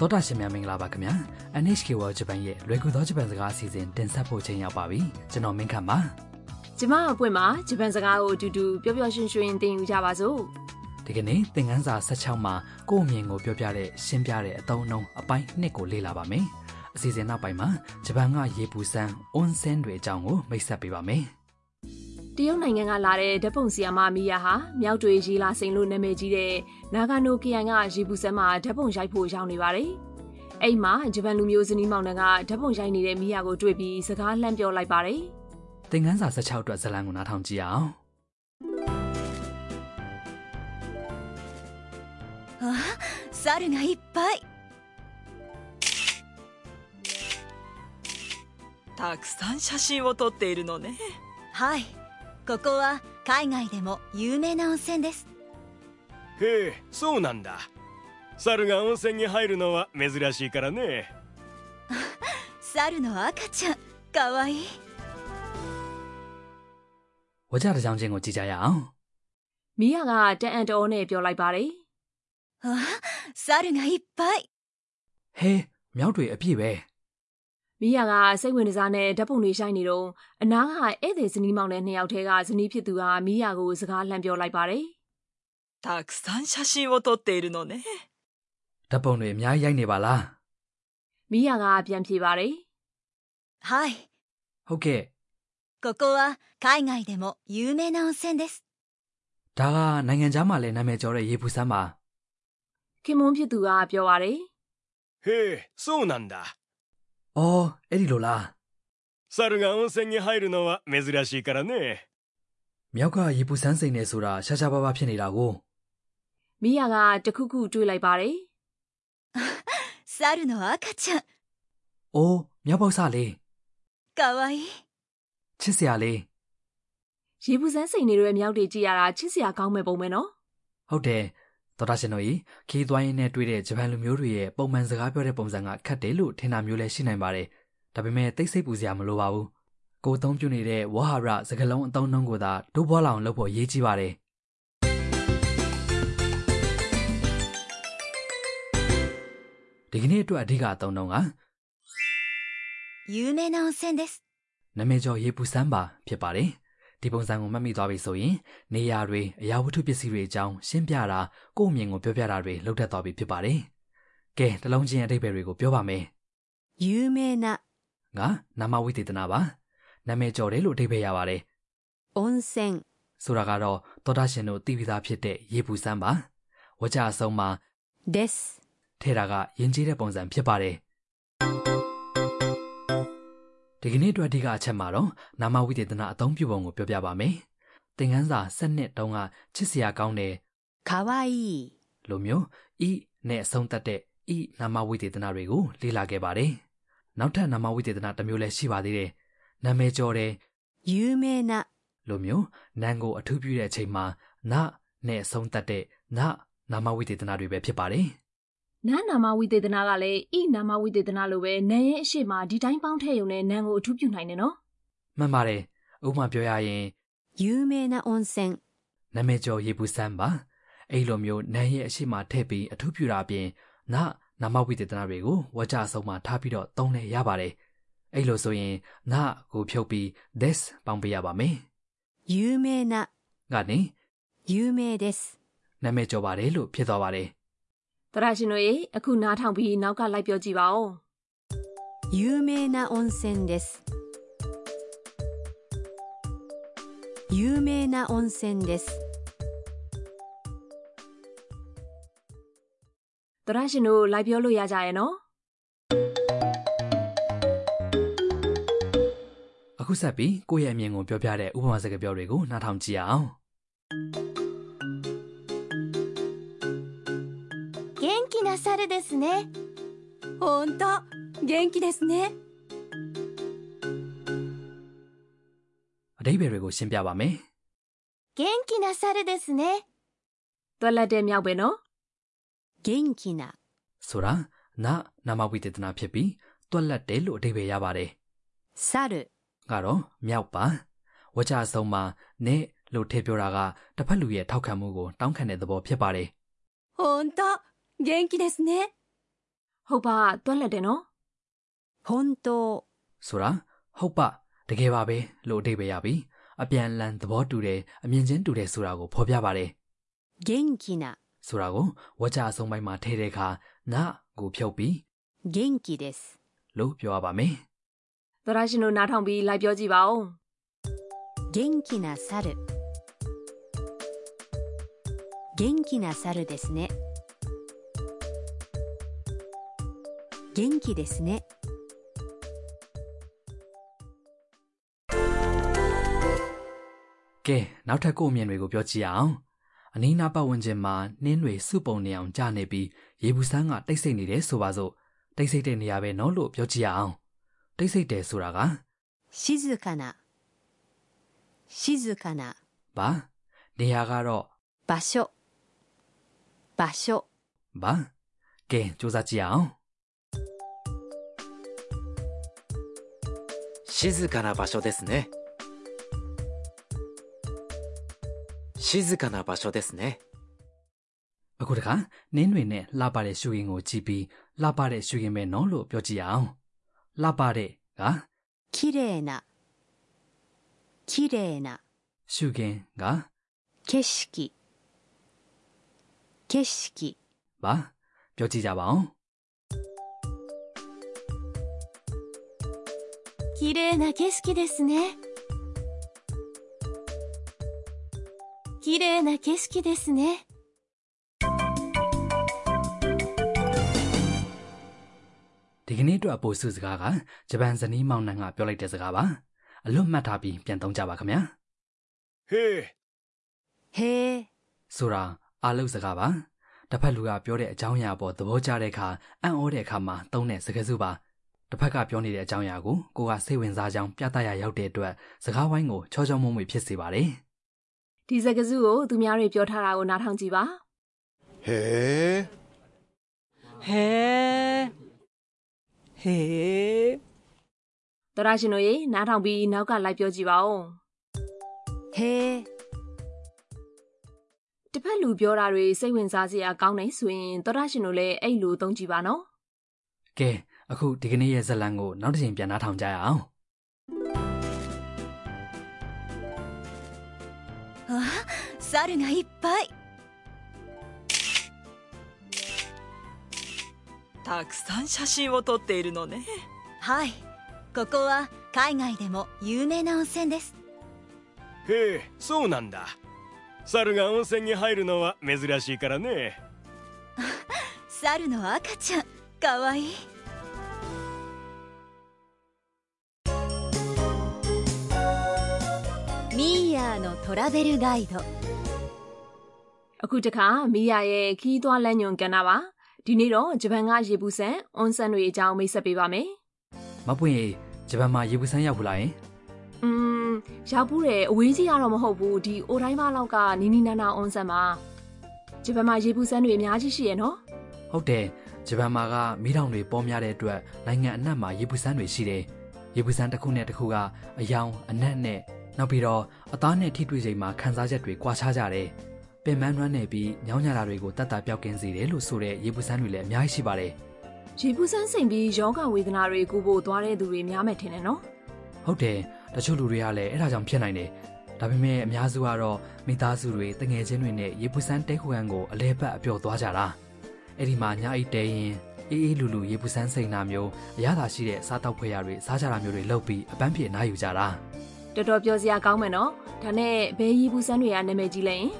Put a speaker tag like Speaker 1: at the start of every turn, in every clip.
Speaker 1: သောတာရှင်များမင်္ဂလာပါခင်ဗျာ NHK World Japan ရဲ့လွယ်ကူသောဂျပန်စကားအစီအစဉ်တင်ဆက်ဖို့ချိန်ရောက်ပါပြီကျွန်တော်မင်းခမ်းပါ
Speaker 2: ကျမအပွင့်မှာဂျပန်စကားကိုအတူတူပျော်ပျော်ရွှင်ရွှင်သင်ယူကြပါစို့
Speaker 1: ဒီကနေ့သင်ခန်းစာ16မှာကိုယ့်အမြင်ကိုပြောပြတဲ့ရှင်းပြတဲ့အသုံးအနှုန်းအပိုင်း2ကိုလေ့လာပါမယ်အစီအစဉ်နောက်ပိုင်းမှာဂျပန်ကရေပူစမ်း onsen တွေအကြောင်းကိုမိတ်ဆက်ပေးပါမယ်
Speaker 2: တရုတ်နိုင်ငံကလာတဲ့ဓာတ်ပုံဆီယာမမီယာဟာမြောက်တွေရေလာစိန်လို့နာမည်ကြီးတဲ့နာဂါနိုကီယန်ကရေပူစမ်းမှာဓာတ်ပုံရိုက်ဖို့ရောက်နေပါတယ်အဲ့မှာဂျပန်လူမျိုးစနီးမောင်နှံကဓာတ်ပုံရိုက်နေတဲ့မီယာကိုတွေ့ပြီးစကားလှမ်းပြောလိုက်ပါတယ်
Speaker 1: သင်ခန်းစာ16အတွက်ဇာတ်လမ်းကိုနားထောင်ကြည့်အောင်
Speaker 3: あ猿がいっぱい
Speaker 4: たくさん写真を撮っているのね
Speaker 3: はいここは海外でも有名な温泉です
Speaker 5: へえそうなんだ猿が温泉に入るのは珍しいからね
Speaker 3: 猿の赤ちゃんかわいい
Speaker 1: ဝါကြတစ်ကြောင်ချင်းကိုကြည့်ကြရအောင်
Speaker 2: မီယာကတန်အန်တော်နဲ့ပြောလိုက်ပါတယ်
Speaker 3: あ猿がいっぱい
Speaker 1: ဟေးမြောက်တွေအပြည့်ပဲ
Speaker 2: မီယာကစိတ်ဝင်စားနဲ့ဓာတ်ပုံတွေရိုက်နေတော့အနားကဧည့်သည်စနီးမောင်နှံနှစ်ယောက်ထဲကစနီးဖြစ်သူကမီယာကိုစကားလှမ်းပြောလိုက်ပါတယ်
Speaker 4: たくさん写真を撮っているのね
Speaker 1: ဓာတ်ပုံတွေအများကြီးရိုက်နေပါလား
Speaker 2: မိယာကပြန်ဖြေပါတယ်
Speaker 3: はい
Speaker 1: ဟုတ်ကဲ့
Speaker 3: ここは海外でも有名な温泉です
Speaker 1: ဒါကနိုင်ငံခြားမှာလည်းနာမည်ကျော်တဲ့ရေပူစမ်းပါ
Speaker 2: ခင်မွန်းဖြစ်သူကပြောပါတယ်
Speaker 5: へえそうなんだ
Speaker 1: အော်အဲ့ဒီလိုလား
Speaker 5: 猿が温泉に入るのは珍しいからね
Speaker 1: မြောက်ကရေပူစမ်းစိန်နေဆိုတာရှာရှာပါပါဖြစ်နေတာကို
Speaker 2: မိယာကတခုခုတွေးလိုက်ပါတယ်
Speaker 3: 猿の赤ちゃん
Speaker 1: ။အိုးမြောက်ပေါက်စလေး
Speaker 3: かわいい
Speaker 1: ချစ်စရာလေး
Speaker 2: ရေပူစမ်းစိန်နေတဲ့မြောက်တွေကြည့်ရတာချစ်စရာကောင်းမဲ့ပုံပဲနော်
Speaker 1: ဟုတ်တယ်သောတာရှင်တို့ကြီးခီးသွိုင်းရင်းနဲ့တွေ့တဲ့ဂျပန်လူမျိုးတွေရဲ့ပုံမှန်စကားပြောတဲ့ပုံစံကခက်တယ်လို့ထင်တာမျိုးလည်းရှိနိုင်ပါတယ်။ဒါပေမဲ့တိတ်ဆိတ်ပူစရာမလိုပါဘူး။ကိုယ်သုံးပြနေတဲ့ဝဟာရစကလုံးအသုံးနှုန်းကိုသာဒုဘွားလောင်လုပ်ဖို့အရေးကြီးပါတယ်။ဒီကနေ့အတွက်အဓိကအသုံးနှုန်းက
Speaker 3: 有名な温泉です
Speaker 1: နာမည်ကျော်ရေပူစမ်းပါဖြစ်ပါတယ်။ဒီပုံစံကိုမှတ်မိသွားပြီဆိုရင်နေရာတွေအရာဝတ္ထုပစ္စည်းတွေအကြောင်းရှင်းပြတာကိုယ့်အမြင်ကိုပြောပြတာတွေလုပ်တတ်သွားပြီဖြစ်ပါတယ်။ကဲတစ်လုံးချင်းအတိတ်ပဲတွေကိုပြောပါမယ်
Speaker 3: 有名な
Speaker 1: ။ငါနာမဝိသေသနာပါ။နာမည်ကျော်တယ်လို့အတိတ်ပဲရပါတယ်
Speaker 3: 温泉
Speaker 1: ။ဆိုတာကတော့သောတာရှင်တို့သိပြီးသားဖြစ်တဲ့ရေပူစမ်းပါ။ဝကြအဆုံးမှာ
Speaker 3: です
Speaker 1: ထဲတာကယဉ်ကျေးတဲ့ပုံစံဖြစ်ပါတယ်ဒီကနေ့အတွက်အဓိကအချက်မှာတော့နာမဝိသေသနာအသုံးပြုပုံကိုပြောပြပါမယ်သင်ခန်းစာ7နှစ်တုန်းကချစ်စရာကောင်းတယ်
Speaker 3: かわいい
Speaker 1: လို့မျိုး i နဲ့အဆုံးသတ်တဲ့ i နာမဝိသေသနာတွေကိုလေ့လာခဲ့ပါတယ်နောက်ထပ်နာမဝိသေသနာတစ်မျိုးလည်းရှိပါသေးတယ်နာမည်ကျော်တယ်
Speaker 3: 有名な
Speaker 1: လို့မျိုးနာမ်ကိုအထူးပြုတဲ့အချိန်မှာနနဲ့အဆုံးသတ်တဲ့နနာမဝိသေသနာတွေပဲဖြစ်ပါတယ်
Speaker 2: နာနာမဝိသေသနာကလည်းဤနာမဝိသေသနာလိုပဲနန်းရဲ့အရှိမဒီတိုင်းပေါင်းထည့်ရုံနဲ့နန်းကိုအထူးပြုနိုင်တယ်နော်
Speaker 1: မှန်ပါတယ်ဥပမာပြောရရင်
Speaker 3: 有名な温泉
Speaker 1: နာမည်ကျော်ရေပူစမ်းပါအဲ့လိုမျိုးနာရဲ့အရှိမထည့်ပြီးအထုပြတာအပြင်နနာမဝိသေသနာတွေကိုဝါကြအဆုံးမှာထားပြီးတော့သုံးလဲရပါတယ်အဲ့လိုဆိုရင်နကိုဖြုတ်ပြီး this ပေါင်းပေးရပါမယ်
Speaker 3: 有名な
Speaker 1: ကနေ
Speaker 3: 有名です
Speaker 1: နာမည်ကျော်ပါတယ်လို့ဖြစ်သွားပါတယ်
Speaker 2: တရရှင်တို့ရေအခုနားထောင်ပြီးနောက်ကလိုက်ပြောကြည့်ပါဦး
Speaker 3: 有名な温泉です有名な温泉です
Speaker 2: တရရှင်တို့လိုက်ပြောလို့ရကြရဲ့နော်
Speaker 1: အခုဆက်ပြီးကိုယ့်ရဲ့အမြင်ကိုပြောပြတဲ့ဥပမာစကားပြောတွေကိုနားထောင်ကြည့်အောင်
Speaker 6: 元気な猿ですね
Speaker 3: 本当元気ですね
Speaker 1: အဓိပ္ပာယ်တွေကိုရှင်းပြပါမယ်
Speaker 6: 元気な猿ですね
Speaker 2: တွက်လက်တဲ့မြောက်ပဲနော်
Speaker 3: 元気な
Speaker 1: ဆိုတာနနာမဝိသေသနာဖြစ်ပြီးတွက်လက်တယ်လို့အဓိပ္ပာယ်ရပါတယ်
Speaker 3: 猿
Speaker 1: ကတော့မြောက်ပါဝကြအဆုံးမှာနဲ့လို့ထည့်ပြောတာကတစ်ဖက်လူရဲ့ထောက်ခံမှုကိုတောင်းခံတဲ့သဘောဖြစ်ပါတယ်
Speaker 3: 本当元気ですね
Speaker 2: ဟုတ်ပါတွက်လက်တယ်နော်
Speaker 3: 本当
Speaker 1: ဆိုတာဟုတ်ပတကယ်ပါပဲလို့အဓိပ္ပာယ်ရပြီးအပြန်အလန်သဘောတူတယ်အမြင်ချင်းတူတယ်ဆိုတာကိုဖော်ပြပါတယ်
Speaker 3: 元気な
Speaker 1: ဆိုတာကိုဝါကြအဆုံးပိုင်းမှာထည့်တဲ့အခါနာကိုဖြုတ်ပြီး
Speaker 3: 元気です
Speaker 1: လို့ပြောရပါမယ်
Speaker 2: သရရှင်တို့နားထောင်ပြီးလိုက်ပြောကြည့်ပါဦး
Speaker 3: 元気な猿元気な猿ですね元気ですね
Speaker 1: ကဲနောက်ထပ်ကိုယ့်အမြင်တွေကိုပြောကြည့်အောင်အနီးနားပတ်ဝန်းကျင်မှာနှင်းတွေစုပုံနေအောင်ကြာနေပြီးရေဘူးစမ်းကတိတ်ဆိတ်နေတယ်ဆိုပါစို့တိတ်ဆိတ်တဲ့နေရာပဲနော်လို့ပြောကြည့်ရအောင်တိတ်ဆိတ်တယ်ဆိုတာက
Speaker 3: 静かな静かな
Speaker 1: ဗာနေရာကတော့
Speaker 3: 場所場所
Speaker 1: ဗာကဲစူးစမ်းကြည့်အောင်
Speaker 7: 静かな場所ですね静かな場所ですね
Speaker 1: အခုတခါနင်းတွေနဲ့လှပတဲ့ရှူရင်ကိုကြည့်ပြီးလှပတဲ့ရှူရင်ပဲနော်လို့ပြောကြည့်ရအောင်လှပတဲ့က
Speaker 3: きれいなきれいな
Speaker 1: ရှူရင်က
Speaker 3: 景色景色
Speaker 1: ဗာပြောကြည့်ကြပါအောင်
Speaker 6: 綺麗な景色ですね。綺麗な景色ですね。
Speaker 1: ဒီကနေ့အတွက်အပိုစုစကားကဂျပန်ဇနီးမောင်နှံကပြောလိုက်တဲ့စကားပါအလွတ်မှတ်ထားပြီးပြန်သုံးကြပါခင်ဗျာ
Speaker 5: へえ
Speaker 3: へえ
Speaker 1: ဆိုတာအာလုတ်စကားပါတစ်ဖက်လူကပြောတဲ့အကြောင်းအရာပေါ်သဘောကျတဲ့အခါအံ့ဩတဲ့အခါမှာသုံးတဲ့စကားစုပါတစ်ဖက်ကပြောနေတဲ့အကြောင်းအရာကိုကိုကစိတ်ဝင်စားကြောင်းပြသရရောက်တဲ့အတွက်စကားဝိုင်းကိုချောချောမွေ့မွေ့ဖြစ်စေပါတယ်
Speaker 2: ဒီစကားစုကိုသူများတွေပြောထားတာကိုနားထောင်ကြည့်ပါ
Speaker 8: へえ
Speaker 4: へえへえ
Speaker 2: သရရှင်တို့ရေနားထောင်ပြီးနောက်ကလိုက်ပြောကြည့်ပါဦး
Speaker 3: へえ
Speaker 2: တစ်ဖက်လူပြောတာတွေစိတ်ဝင်စားစရာကောင်းတယ်ဆိုရင်သရရှင်တို့လည်းအဲ့လိုသုံးကြည့်ပါနော်
Speaker 1: ကဲအခုဒီကနေ့ရဲ့ဇတ်လံကိုနောက်တစ်ချိန်ပြန်နှားထောင်ကြရအောင်
Speaker 3: わ猿がいっぱい
Speaker 4: たくさん写真を撮っているのね
Speaker 3: はいここは海外でも有名な温泉です
Speaker 5: へえそうなんだ猿が温泉に入るのは珍しいからね
Speaker 3: 猿の赤ちゃんかわいいミーヤーのトラベルガイド
Speaker 2: အခုတခါမိယာရဲ့ခီးသွွားလမ်းညွန်ကဏ္ဍပါဒီနေ့တော့ဂျပန်ကရေပူဆန်အွန်ဆန်တွေအကြောင်းမိတ်ဆက်ပေးပါမယ်
Speaker 1: မပွင့်ရေဂျပန်မှာရေပူစမ်းရောက်ဘူးလားယင်
Speaker 2: อืมရောက်ဘူးတယ်အဝေးကြီးကတော့မဟုတ်ဘူးဒီအိုတိုင်းမလောက်ကနီနီနာနာအွန်ဆန်မှာဂျပန်မှာရေပူဆန်တွေအများကြီးရှိရယ်နော်
Speaker 1: ဟုတ်တယ်ဂျပန်မှာကမိထောင်တွေပေါများတဲ့အတွက်နိုင်ငံအနှံ့မှာရေပူစမ်းတွေရှိတယ်ရေပူစမ်းတစ်ခုနဲ့တစ်ခုကအယောင်အနက်နဲ့နောက်ပြီးတော့အသားနဲ့ထိတွေ့ချိန်မှာခံစားချက်တွေကွာခြားကြတယ်ပင်ပန်းရွမ်းနေပြီးညောင်းညတာတွေကိုတတ်တာပြောက်ကင်းစေတယ်လို့ဆိုတဲ့ရေပူစမ်းတွေလည်းအများကြီးရှိပါတယ်
Speaker 2: ရေပူဆန်စိန်ပြီးယောဂဝေဒနာတွေကိုပို့သွားတဲ့သူတွေများမယ်ထင်တယ်နော်
Speaker 1: ဟုတ်တယ်တချို့လူတွေကလည်းအဲ့ဒါကြောင့်ဖြစ်နိုင်တယ်ဒါပေမဲ့အများစုကတော့မိသားစုတွေတငယ်ချင်းတွေနဲ့ရေပူစမ်းတဲခုခံကိုအလဲပတ်အပျော်သွားကြတာအဲ့ဒီမှာညအိတ်တဲရင်အေးအေးလူလူရေပူစမ်းစိန်နာမျိုးအရသာရှိတဲ့စားတောက်ဖွဲ့ရတွေစားကြတာမျိုးတွေလုပ်ပြီးအပန်းဖြေနားယူကြတာ
Speaker 2: တော်တော်ပြောစရာကောင်းမယ်နော်ဒါနဲ့ဘယ်ရီဘူးစန်းတွေကနာမည်ကြီးလဲရင်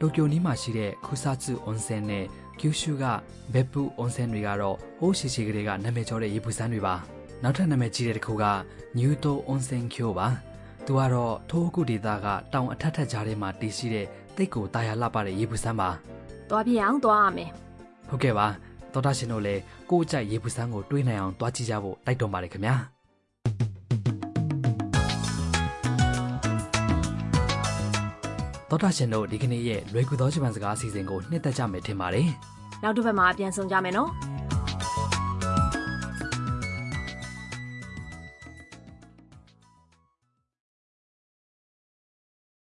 Speaker 1: တိုကျိုနီးမှာရှိတဲ့ခူဆာချူအွန်ဆန်နဲ့ကျူရှူကဘက်ပူအွန်ဆန်တွေကတော့ဟိုးရှိရှိကလေးကနာမည်ကျော်တဲ့ရေပူစမ်းတွေပါနောက်ထပ်နာမည်ကြီးတဲ့တစ်ခုကညူတိုအွန်ဆန်ကျိုပါသူကတော့ထိုးအကုဒေတာကတောင်အထက်ထက်ကြားထဲမှာတည်ရှိတဲ့တိတ်ကိုတာယာလှပတဲ့ရေပူစမ်းပါ
Speaker 2: သွားပြစ်အောင်သွားရမယ်
Speaker 1: ဟုတ်ကဲ့ပါသောတာရှင်တို့လည်းကိုယ့်အကြိုက်ရေပူစမ်းကိုတွေးနိုင်အောင်တွားကြည့်ကြဖို့တိုက်တွန်းပါတယ်ခင်ဗျာသောတာရှင်တို့ဒီကနေ့ရဲ့လွယ်ကူသောဂျပန်စကားအစီအစဉ်ကိုနှစ်သက်ကြမယ်ထင်ပါတယ်
Speaker 2: နောက်တစ်ပတ်မှာပြန်ဆောင်ကြမယ်နော်